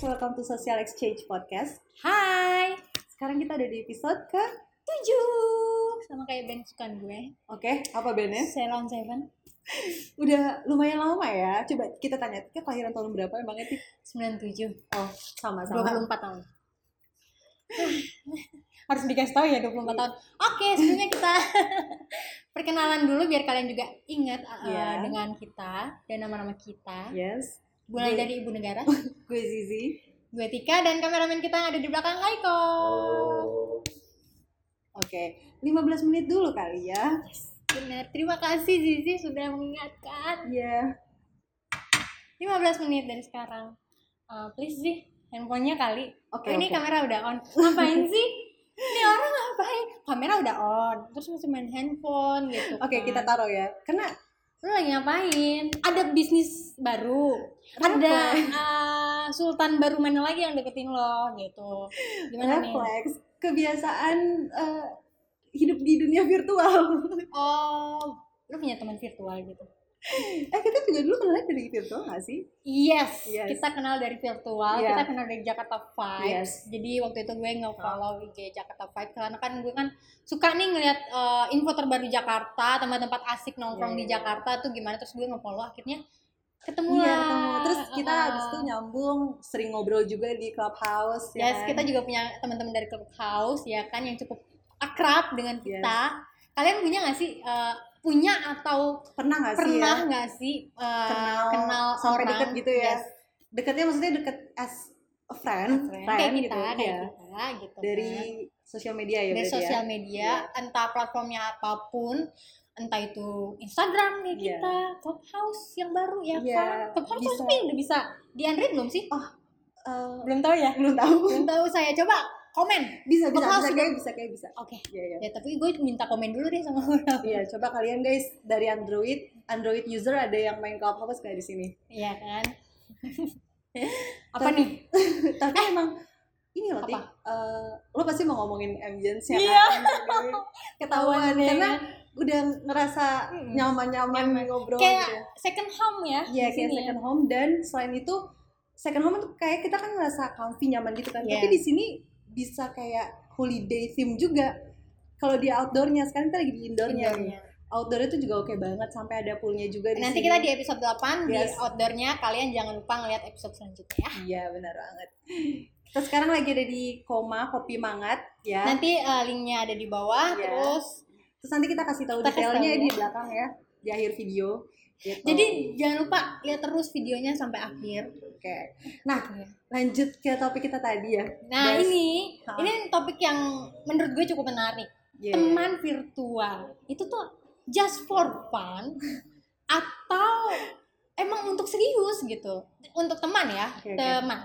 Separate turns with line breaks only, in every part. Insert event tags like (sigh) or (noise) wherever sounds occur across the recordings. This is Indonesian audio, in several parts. welcome to Social Exchange Podcast.
Hai,
Sekarang kita ada di episode ke-7.
sama kayak band kesukaan gue,
Oke, apa bandnya?
Ceylon Seven,
Udah lumayan lama ya. Coba kita tanya, kita kelahiran tahun berapa ya, emangnya Tik?
97,
Oh, sama-sama.
24 tahun. Harus dikasih tahu ya 24 tahun. Oke, sebelumnya kita (laughs) perkenalan dulu biar kalian juga ingat uh,
Iya.
dengan kita dan nama-nama kita.
Yes.
Mulai
Gue-
dari Ibu Negara,
Gue Zizi.
gue Tika dan kameramen kita yang ada di belakang Aiko.
Oh. Oke, 15 menit dulu kali ya.
Benar, terima kasih Zizi sudah mengingatkan.
Iya.
15 menit dari sekarang. Uh, please sih, handphonenya kali.
Oke,
Oh, ini
oke.
kamera udah on. Ngapain (laughs) sih? Ini orang ngapain? Kamera udah on, terus masih main handphone gitu.
Oke,
kan.
kita taruh ya. Karena
Lu lagi ngapain? Ada bisnis baru. Ada
Refleks.
uh, sultan baru mana lagi yang deketin lo gitu. Gimana nih?
refleks kebiasaan eh, hidup di dunia virtual. (laughs)
Oh, lu punya teman virtual gitu.
eh, kita juga dulu kenalnya dari virtual nggak sih?
Yes,
Yes.
kita kenal dari virtual,
Iya.
kita kenal dari Jakarta
Yes. Ah.
Vibes. Jadi waktu itu gue nge-follow IG Jakarta Vibes karena kan gue kan suka nih ngeliat eh, info terbaru Jakarta, tempat-tempat asik nongkrong
Iya,
di
iya.
Jakarta tuh gimana terus gue nge-follow akhirnya ketemu
Iya,
lah.
ketemu. Terus kita
Uh-uh.
habis itu nyambung, sering ngobrol juga di clubhouse.
Yes,
kan?
kita juga punya teman-teman dari Clubhouse ya kan yang cukup akrab dengan
Yes.
kita. Kalian punya nggak sih eh, punya atau
pernah nggak sih ya?
pernah nggak sih eh,
Kenal,
kenal
sampai
orang?
deket gitu ya?
Yes,
Deketnya maksudnya deket as a friend,
friend, kayak kita,
gitu,
kayak
ya.
kita gitu.
Dari
kan.
sosial media ya
dari
berarti ya?
sosial media, entah platformnya apapun, entah itu Instagram nih
Iya.
kita, Clubhouse yang baru ya
Iya,
kan. Clubhouse
bisa.
tapi udah bisa di Android belum sih? Oh,
Eh,
belum tahu ya.
belum tahu.
belum tahu saya coba komen.
Bisa, bisa,
Clubhouse
bisa,
juga.
kayak bisa, kayak bisa.
Oke.
Iya, iya.
Ya tapi gue minta komen dulu deh sama orang.
Iya, coba kalian guys dari Android, Android user ada yang main Clubhouse kayak di
(laughs)
sini.
Iya kan? Apa
Tapi-
nih?
Tapi emang ini loh,
Apa?
Tik, eh, lo pasti mau ngomongin ambience ya
Iya.
kan? Ini Ketahuan,
Ketahuan,
karena
ya
udah ngerasa
Mm-mm.
nyaman-nyaman
Hmm. Nyaman.
ngobrol
Kayak
gitu.
second home ya.
Iya, kayak
di sini ya.
second home dan selain itu second home tuh kayak kita kan ngerasa comfy nyaman gitu kan. Tapi
Yes.
di sini bisa kayak holiday theme juga. Kalau di outdoornya sekarang kita lagi di indoornya.
Indoornya.
nih. Outdoornya tuh juga oke banget sampai ada poolnya juga di
Nanti
sini.
kita di episode 8 di
Yes.
outdoornya kalian jangan lupa ngeliat episode selanjutnya ya.
Iya benar banget. Kita sekarang lagi ada di Koma Kopi Mangat ya.
Nanti eh, linknya ada di bawah
Iya.
terus
Terus nanti kita kasih tahu
Kita kasih
detailnya
tahu
di
ya.
belakang ya di akhir video. Gitu.
jadi jangan lupa lihat terus videonya sampai akhir.
oke. Nah lanjut ke topik kita tadi ya.
Nah
Guys.
ini
Hah?
ini topik yang menurut gue cukup menarik
Yeah.
teman virtual itu tuh just for
(laughs)
fun atau emang untuk serius gitu untuk teman ya
Oke, oke.
teman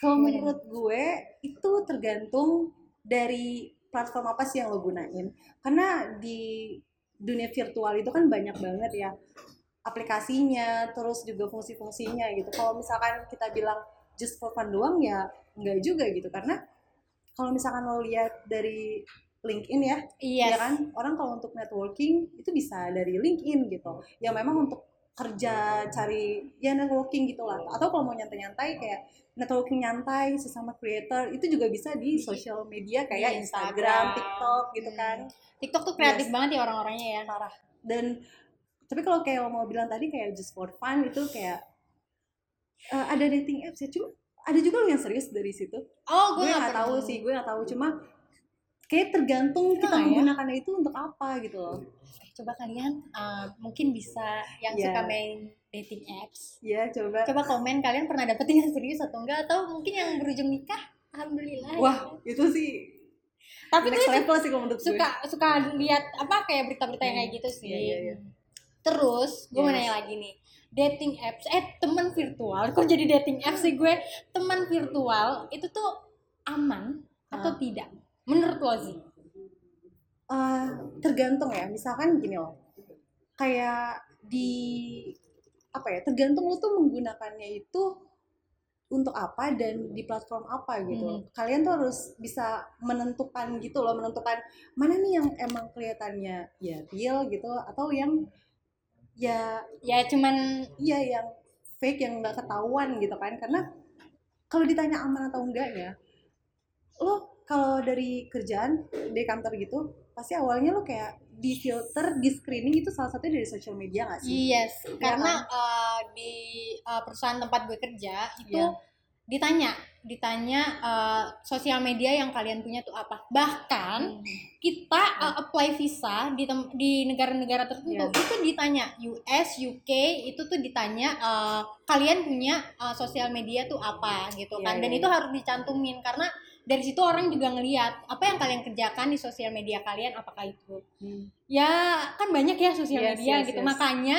Kalau
Gimana?
menurut gue itu tergantung dari platform apa sih yang lo gunain. Karena di dunia virtual itu kan banyak banget ya aplikasinya, terus juga fungsi-fungsinya gitu. Kalau misalkan kita bilang just for fun doang ya enggak juga gitu karena kalau misalkan lo lihat dari LinkedIn ya,
iya
ya kan orang kalau untuk networking itu bisa dari LinkedIn gitu ya memang untuk kerja cari ya networking gitu lah atau kalau mau nyantai-nyantai kayak networking nyantai sesama creator itu juga bisa di social media kayak
Di
Instagram,
Iya, Instagram. Hmm.
TikTok gitu kan
TikTok tuh kreatif
Yes.
banget ya orang-orangnya ya
parah dan tapi kalau kayak lo mau bilang tadi kayak just for fun itu kayak eh, ada dating apps ya cuma ada juga lo yang serius dari situ
oh
gue
gue nggak
nggak tahu
pernah.
sih gue nggak tahu cuma kayak tergantung kita
Nah, ya. Hmm.
menggunakannya itu untuk apa gitu loh
coba kalian uh, mungkin bisa yang
Iya.
suka main dating apps
Iya coba.
coba komen kalian pernah dapetin yang serius atau enggak atau mungkin yang berujung nikah alhamdulillah
Wah itu sih
tapi
next
gue
level sih kalau menurut gue.
suka suka lihat apa kayak berita-berita yang kayak gitu sih
Iya, iya, iya.
terus gue mau
Yes.
nanya lagi nih dating apps eh teman virtual kok jadi dating apps sih gue teman virtual itu tuh aman
Ah.
atau tidak menurut lo sih
Eh, tergantung ya. Misalkan gini loh. Kayak di apa ya? Tergantung lo tuh menggunakannya itu untuk apa dan di platform apa gitu.
Hmm.
Kalian tuh harus bisa menentukan gitu loh, menentukan mana nih yang emang kelihatannya ya real gitu atau yang ya
ya cuman
iya yang fake yang nggak ketahuan gitu kan karena kalau ditanya aman atau enggaknya lo kalau dari kerjaan di kantor gitu pasti awalnya lo kayak di filter di screening itu salah satunya dari social media nggak sih Iya kan?
Yes, Iya karena eh, di eh, perusahaan tempat gue kerja itu
Iya.
ditanya, ditanya eh, sosial media yang kalian punya tuh apa.
Kan?
Bahkan kita eh, apply visa di tem- di negara-negara tertentu
Iya.
itu ditanya US, UK itu tuh ditanya eh, kalian punya eh, sosial media tuh apa gitu
Iya,
kan. Dan
iya,
itu harus dicantumin karena dari situ orang juga ngelihat apa yang kalian kerjakan di sosial media kalian apakah itu
Hmm.
ya kan banyak ya sosial
Yes,
media
yes,
gitu
yes.
makanya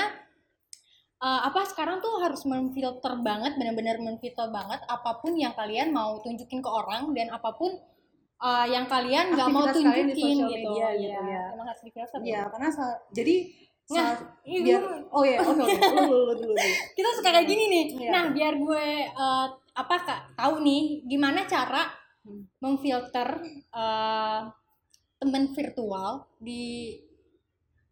eh, apa sekarang tuh harus memfilter banget benar-benar memfilter banget apapun yang kalian mau tunjukin ke orang dan apapun eh, yang kalian nggak mau
Aktivitas kalian di
tunjukin
sosial
gitu,
media
Iya,
gitu ya.
emang harus di filter
Iya, karena sa- jadi
Nah,
saat- biar oh ya, oke oke. Lu lu lu dulu. dulu.
kita suka kayak gini nih
Iya.
nah biar gue eh, apa kak tahu nih gimana cara
Hmm.
memfilter eh, temen virtual di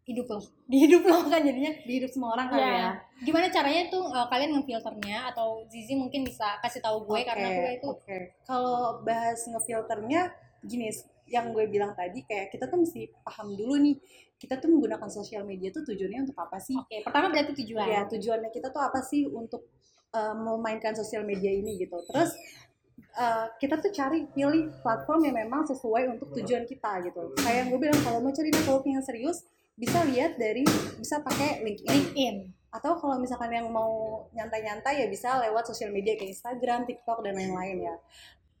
hidup lo di hidup lo kan jadinya
Di hidup semua orang kan
Iya. Gimana caranya tuh uh, kalian ngefilternya atau Zizi mungkin bisa kasih tahu gue
Oke,
karena gue itu
oke. Kalau bahas ngefilternya gini yang gue bilang tadi kayak kita tuh mesti paham dulu nih kita tuh menggunakan sosial media tuh tujuannya untuk apa sih?
Oke, pertama berarti tujuan.
Ya, tujuannya kita tuh apa sih untuk eh, memainkan sosial media ini gitu. Terus eh, kita tuh cari pilih platform yang memang sesuai untuk tujuan kita gitu. Kayak yang gue bilang kalau mau cari networking yang serius bisa lihat dari bisa pakai LinkedIn
LinkedIn.
atau kalau misalkan yang mau nyantai-nyantai ya bisa lewat sosial media kayak Instagram, TikTok dan lain-lain ya.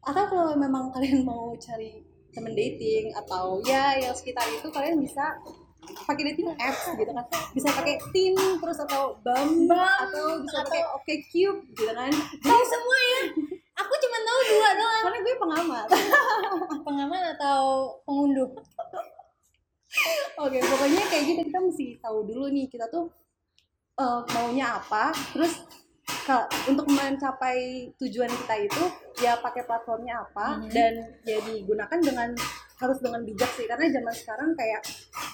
Atau kalau memang kalian mau cari temen dating atau ya yang sekitar itu kalian bisa pakai dating apps gitu kan bisa pakai Tin terus atau Bumble atau bisa pakai OkCupid gitu kan
Tahu semua ya. Aku cuma tahu dua doang. Ah,
karena gue pengamat
Pengaman atau pengunduh.
Oke, pokoknya kayak gitu kita mesti tahu dulu nih kita tuh eh, maunya apa, terus ke- untuk mencapai tujuan kita itu ya pakai platformnya apa
Mhm.
dan ya digunakan dengan harus dengan bijak sih karena zaman sekarang kayak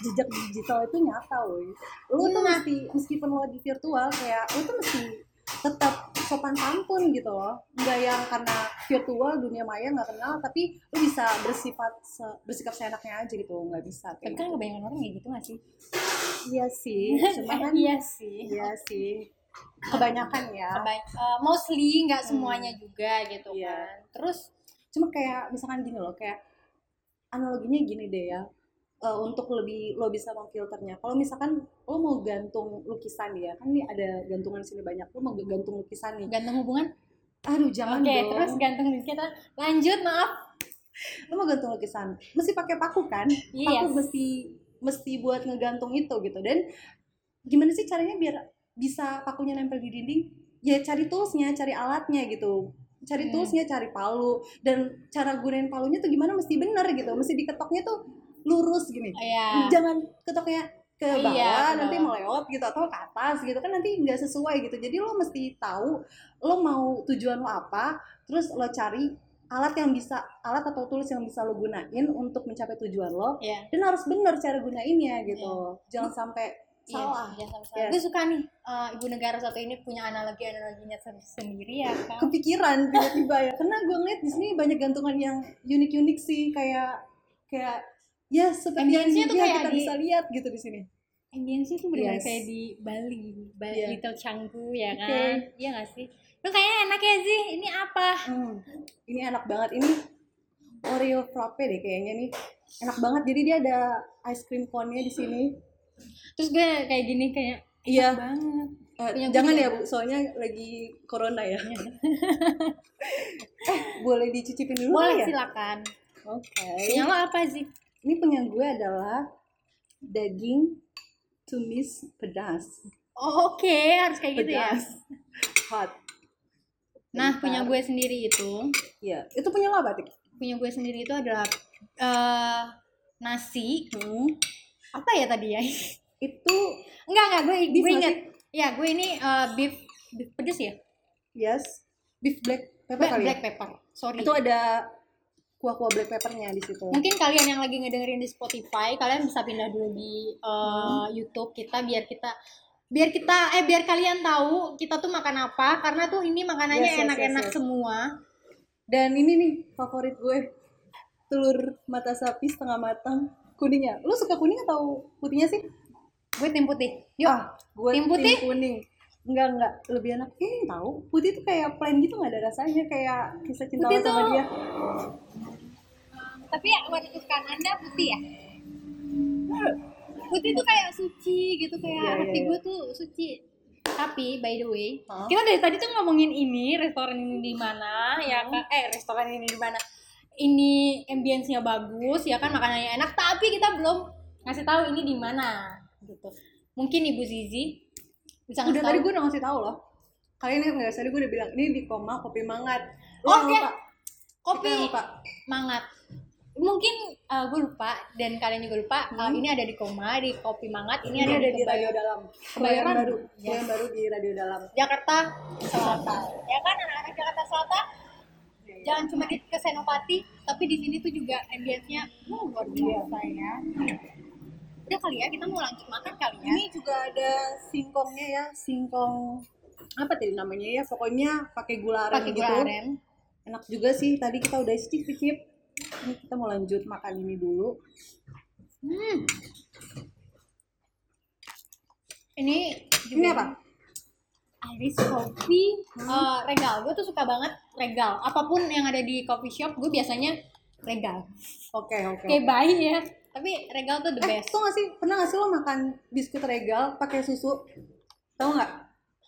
jejak digital itu nyata woi. Lu tuh
Nah.
mesti meskipun lo di virtual kayak lu tuh mesti tetap sopan santun gitu loh nggak yang karena virtual dunia maya nggak kenal tapi lu bisa bersifat se- bersikap seenaknya aja gitu nggak bisa
Tapi
kayak
kan kebanyakan orang kayak gitu gak sih?
Iya
(laughs)
sih, cuma kan
iya sih.
iya sih. Kebanyakan ya.
Kebany- uh, mostly nggak semuanya juga gitu
Hmm. Iya.
kan. Terus
Cuma kayak misalkan gini loh, kayak analoginya gini deh ya. Eh, untuk lebih lo bisa memfilternya. Kalau misalkan lo mau gantung lukisan ya, kan nih ada gantungan di sini banyak. Lo mau gantung lukisan nih.
gantung hubungan.
Aduh, jangan
Oke,
dong.
terus gantung di kita. Lanjut, maaf.
Lo mau gantung lukisan, mesti pakai paku kan?
Iya.
Paku mesti mesti buat ngegantung itu gitu. Dan gimana sih caranya biar bisa pakunya nempel di dinding? Ya cari toolsnya, cari alatnya gitu. Cari
Hmm.
toolsnya, cari palu. Dan cara gunain palunya tuh gimana mesti bener gitu. Mesti diketoknya tuh lurus gini.
Iya.
Jangan ketoknya ke
Iya, ke
bawah,
bawah.
nanti melewat gitu atau ke atas gitu kan nanti nggak sesuai gitu. Jadi lo mesti tahu lo mau tujuan lo apa, terus lo cari alat yang bisa alat atau tools yang bisa lo gunain untuk mencapai tujuan lo
Iya.
dan harus benar cara gunainnya gitu jangan sampai
Iya,
salah
jangan sampai salah.
Yes.
Gue suka nih eh, ibu negara satu ini punya analogi analoginya sendiri ya kan.
kepikiran tiba-tiba ya karena gue ngeliat di sini banyak gantungan yang unik-unik sih kayak kayak ya seperti yang
Ambience-nya tuh
dia
kayak
kita
di-
bisa lihat gitu di sini
Ambience itu benar
Yes.
kayak di Bali, Bali
Iya.
Little Canggu ya kan.
Oke.
Iya gak sih? Lu kayaknya enak ya sih. Ini apa?
Hmm, ini enak banget ini Oreo frappe deh kayaknya nih enak banget jadi dia ada ice cream cone-nya di sini
Terus gue kayak gini kayak
iya
banget.
Eh,
Punya
jangan
gue
ya bu, soalnya lagi corona ya.
Iya.
(laughs) eh, boleh dicicipin dulu
Boleh
kali ya?
silakan.
Oke.
Punya lo apa sih?
Ini punya gue adalah daging tumis pedas.
Oh, Oke, harus kayak gitu ya.
pedas. Hot.
Nah, punya
Bentar.
gue sendiri itu,
Iya, itu punya lo apa, Tik?
punya gue sendiri itu adalah eh, nasi
Hmm.
apa ya tadi ya?
Itu
Enggak, enggak, gue,
Beef
gue
nggak
inget. Ya, gue ini eh, beef, beef pedes ya?
yes, beef black pepper
Black,
kali.
black
ya?
pepper, sorry.
Itu ada kuah-kuah black peppernya di situ.
Mungkin kalian yang lagi ngedengerin di Spotify, kalian bisa pindah dulu di eh,
Hmm.
YouTube kita biar kita biar kita eh biar kalian tahu kita tuh makan apa karena tuh ini makanannya
Yes, yes, yes,
enak-enak
yes.
semua.
Dan ini nih favorit gue. Telur mata sapi setengah matang kuningnya. Lu suka kuning atau putihnya sih?
Gue tim putih. Yuk.
Ah, gue
Tim putih?
kuning. Enggak, enggak. Lebih enak. Eh, tahu. Putih itu kayak plain gitu nggak ada rasanya kayak kisah cinta lo
Putih
sama
tuh-
dia.
Tapi ya, warna kesukaan Anda putih ya? Putih tuh kayak suci gitu, kayak
Iya, iya,
hati
iya.
gue tuh suci. Tapi by the way,
Hah?
kita dari tadi tuh ngomongin ini restoran ini di mana, ya kan? Eh restoran ini di mana? Ini ambience-nya bagus, ya kan makanannya enak. Tapi kita belum ngasih tahu ini di mana gitu. Mungkin Ibu Zizi bisa
Udah
ngasih
tadi
tahu.
gue udah ngasih tahu loh. Kalian ingat nggak? Tadi gue udah bilang ini di koma kopi mangat. Lo
Oh,
yang
iya.
lupa.
Kopi.
Kita yang lupa.
Mangat. Mungkin uh, gue lupa dan kalian juga lupa. uh, ini ada di Koma, di Kopi Mangat. Ini,
Ini
ada,
ada
di
Hmm? di
Kebayoran
radio dalam. Iya,
Kebayoran.
Kebayoran baru.
Yes.
Kebayoran baru di radio dalam.
Jakarta Selatan. Ya kan anak-anak Jakarta Selatan jangan cuma di ke Senopati, tapi di sini tuh juga ambience-nya wow, luar biasa ya. Udah kali ya, kita mau lanjut makan kali ya.
Ini juga ada singkongnya ya, singkong apa tadi namanya ya? Pokoknya pakai gula aren
pakai
gitu.
gula aren.
Enak juga sih. Tadi kita udah cicip-cicip. Ini kita mau lanjut makan ini dulu.
Hmm. Ini juga
Ini apa? Hmm.
Iris Coffee Eh, Regal. Gue tuh suka banget Regal. Apapun yang ada di coffee shop, gue biasanya Regal.
Oke, oke.
Kayak bayi ya. Tapi Regal tuh the
Eh,
best.
tau gak sih, pernah gak sih lo makan biskuit regal pakai susu? Tau gak?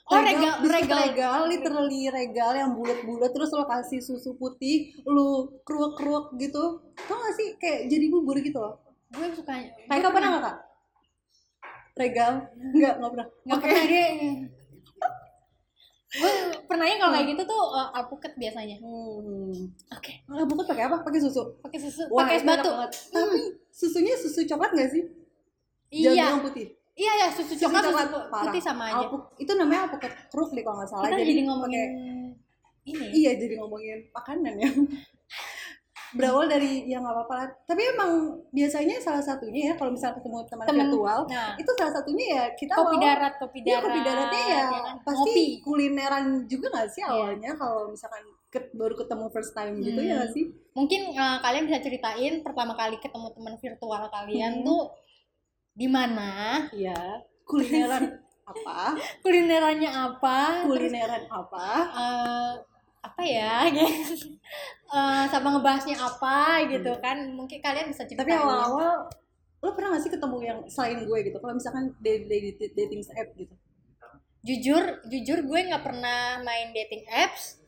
Oh, regal-
biskuit
regal.
regal, literally regal yang bulat-bulat terus lo kasih susu putih, lo keruak-keruak gitu. Tau gak sih, kayak jadi bubur gitu loh.
gue suka
Kayak
gue
kau pernah gak kak? Regal? Enggak, gak pernah.
nggak
Oke.
pernah dia gue pernahnya kalau kayak gitu tuh uh, alpukat biasanya oke
Hmm. Ah, bukan pakai apa? Pakai susu.
pakai susu
Wah,
pakai es
itu enak
batu
banget. Tapi susunya susu coklat gak sih? Jangan
iya
bilang putih.
iya ya susu
Susu
coklat susu pu-
parah.
putih sama aja
Alpuk- itu namanya alpukat kruk deh kalau nggak salah.
kita jadi,
pakai-
ngomongin ini
Iya jadi ngomongin makanan
(laughs)
ya. Berawal dari yang nggak apa-apa lah. Tapi emang biasanya salah satunya ya kalau misalnya ketemu teman
Temen.
virtual,
Nah.
itu salah satunya ya kita
kopi
mau
darat kopi
Iya,
darat
kopi daratnya ya,
kan?
pasti
ngopi Iya.
kulineran juga nggak sih awalnya kalau misalkan ke- baru ketemu first time gitu ya
Hmm.
nggak sih?
mungkin uh, kalian bisa ceritain pertama kali ketemu teman virtual kalian
Hmm.
tuh di mana
Iya.
(laughs)
Kulineran apa?
kulinerannya apa terus
Kulineran apa?
eh apa ya (laughs) gitu. Eh, sama ngebahasnya apa gitu kan mungkin kalian bisa ceritain
Hmm. Tapi awal-awal lo pernah nggak sih ketemu yang selain gue gitu? Kalau misalkan dari dari dating app gitu?
jujur jujur gue nggak pernah main dating apps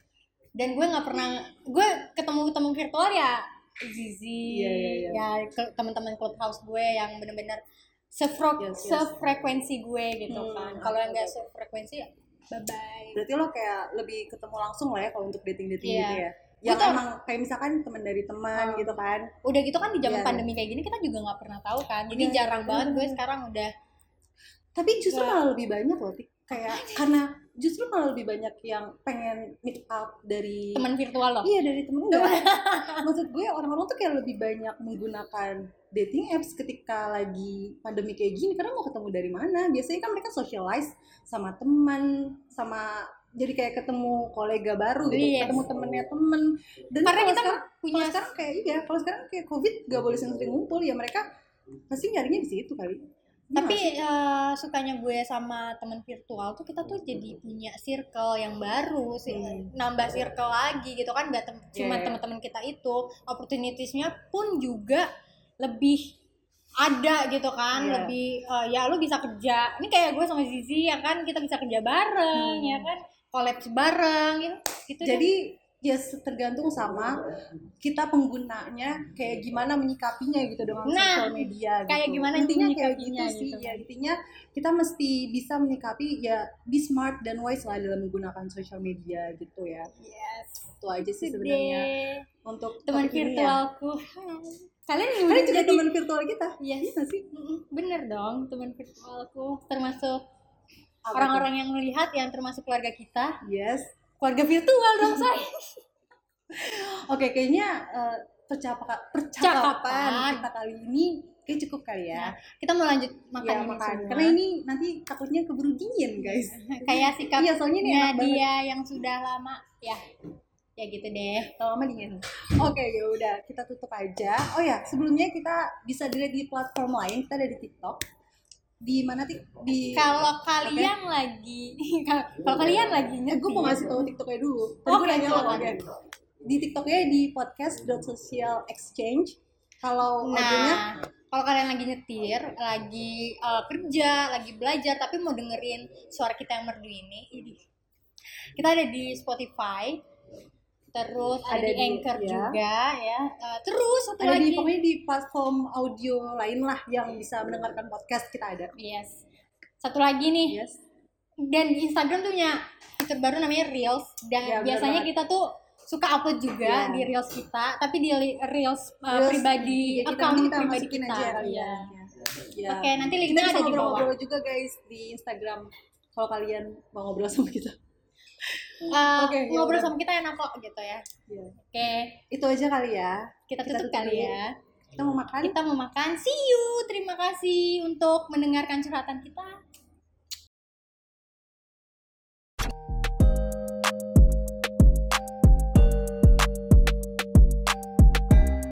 dan gue nggak pernah gue ketemu ketemu virtual ya Zizi
Iya, iya, iya.
ya ke- teman-teman clubhouse gue yang bener-bener sefro-
Yes, yes.
sefrekuensi gue gitu
Hmm,
kan kalau yang nggak
oke.
sefrekuensi ya, bye bye
berarti lo kayak lebih ketemu langsung lah ya kalau untuk dating dating
Iya.
gitu ya yang
Betul.
emang kayak misalkan teman dari teman
Hmm.
gitu kan
udah gitu kan di zaman
Iya, iya.
pandemi kayak gini kita juga nggak pernah tahu kan jadi
Iya, iya,
jarang banget gue sekarang udah
tapi justru
Iya.
malah lebih banyak loh Tik. kayak karena justru malah lebih banyak yang pengen meet up dari
teman virtual loh
iya dari temen enggak (laughs) maksud gue orang-orang tuh kayak lebih banyak menggunakan dating apps ketika lagi pandemi kayak gini karena mau ketemu dari mana biasanya kan mereka socialize sama teman sama jadi kayak ketemu kolega baru gitu
Yes.
ketemu temennya temen dan
Iya. karena
kalau
kita
sekarang-
punya
kalau sekarang kayak iya kalau sekarang kayak covid gak boleh sering-sering ngumpul ya mereka pasti nyarinya di situ kali Iya
tapi
nggak sih?
eh, sukanya gue sama temen virtual tuh kita tuh jadi punya circle yang baru sih
Hmm.
nambah circle lagi gitu kan nggak tem-
Iya,
cuma
iya.
teman-teman kita itu opportunitiesnya pun juga lebih ada gitu kan
Iya.
lebih eh, ya lu bisa kerja ini kayak gue sama Zizi ya kan kita bisa kerja bareng
Hmm.
ya kan collab bareng gitu gitu deh.
jadi ya se- tergantung sama kita penggunanya kayak gimana menyikapinya gitu dengan
Nah,
sosial media gitu.
kayak gimana
intinya kayak gitu
menyikapinya
sih
gitu.
ya intinya kita mesti bisa menyikapi ya be smart dan wise lah dalam menggunakan sosial media gitu ya
yes gitu
itu aja sih sebenarnya
deh
untuk topik
teman
ini ya.
virtualku kalian
kalian juga
jadi-
teman virtual kita
Yes.
Iya nggak sih
Mm-mm, bener dong teman virtualku termasuk
Apa
orang-orang yang melihat yang termasuk keluarga
tuh?
kita
yes
keluarga virtual dong
(laughs)
saya
Oke, kayaknya eh, percapa- percakapan
Percakapan.
kita kali ini kayak cukup kali ya.
kita mau lanjut Ya, makan
Iya,
ini
makan.
semua. Iya.
Karena ini nanti takutnya
(laughs)
keburu dingin, guys.
kayak sikapnya
Iya, soalnya ini enak banget.
dia yang sudah lama ya ya gitu deh
lama-lama dingin. Oke, ya udah kita tutup aja. Oh ya, sebelumnya kita bisa dilihat di platform lain. Kita ada di TikTok. Di mana tik? Di
kalau kalian lagi (laughs) kalau kalian lagi
Eh, gue mau ngasih tahu TikToknya dulu. Tadi gue
Iya. Oke,
nanya sama
silakan.
dia. Di TikToknya di podcast.social exchange. Kalau audionya
Nah, kalau kalian lagi nyetir, lagi uh, kerja, lagi belajar, tapi mau dengerin suara kita yang merdu ini, ini. kita ada di Spotify, terus ada,
Ada
di
di-
Anchor
ya.
juga ya, Uh, terus satu
ada
lagi,
di pokoknya di platform audio lain lah yang bisa mendengarkan podcast kita ada.
yes, satu lagi nih,
Yes.
dan di Instagram tuh punya fitur baru namanya Reels dan
Ya, benar
biasanya
banget.
kita tuh suka upload juga
Iya.
di Reels kita, tapi di li- Reels, uh,
Terus
pribadi
IG kita,
account
nanti kita
pribadi
masukin
kita,
aja kali
Iya.
ya. Ya.
Oke, nanti
Kita
linknya
bisa
ada di bawah.
ngobrol-ngobrol juga guys di Instagram kalau kalian mau ngobrol sama kita.
Uh,
Oke, ya
ngobrol
udah.
sama kita enak kok gitu ya.
Ya.
Oke,
Itu aja kali ya.
kita
Kita tutup
tutup kali
dulu.
ya.
Kita mau makan.
Kita mau makan. See you. Terima kasih untuk mendengarkan curhatan kita.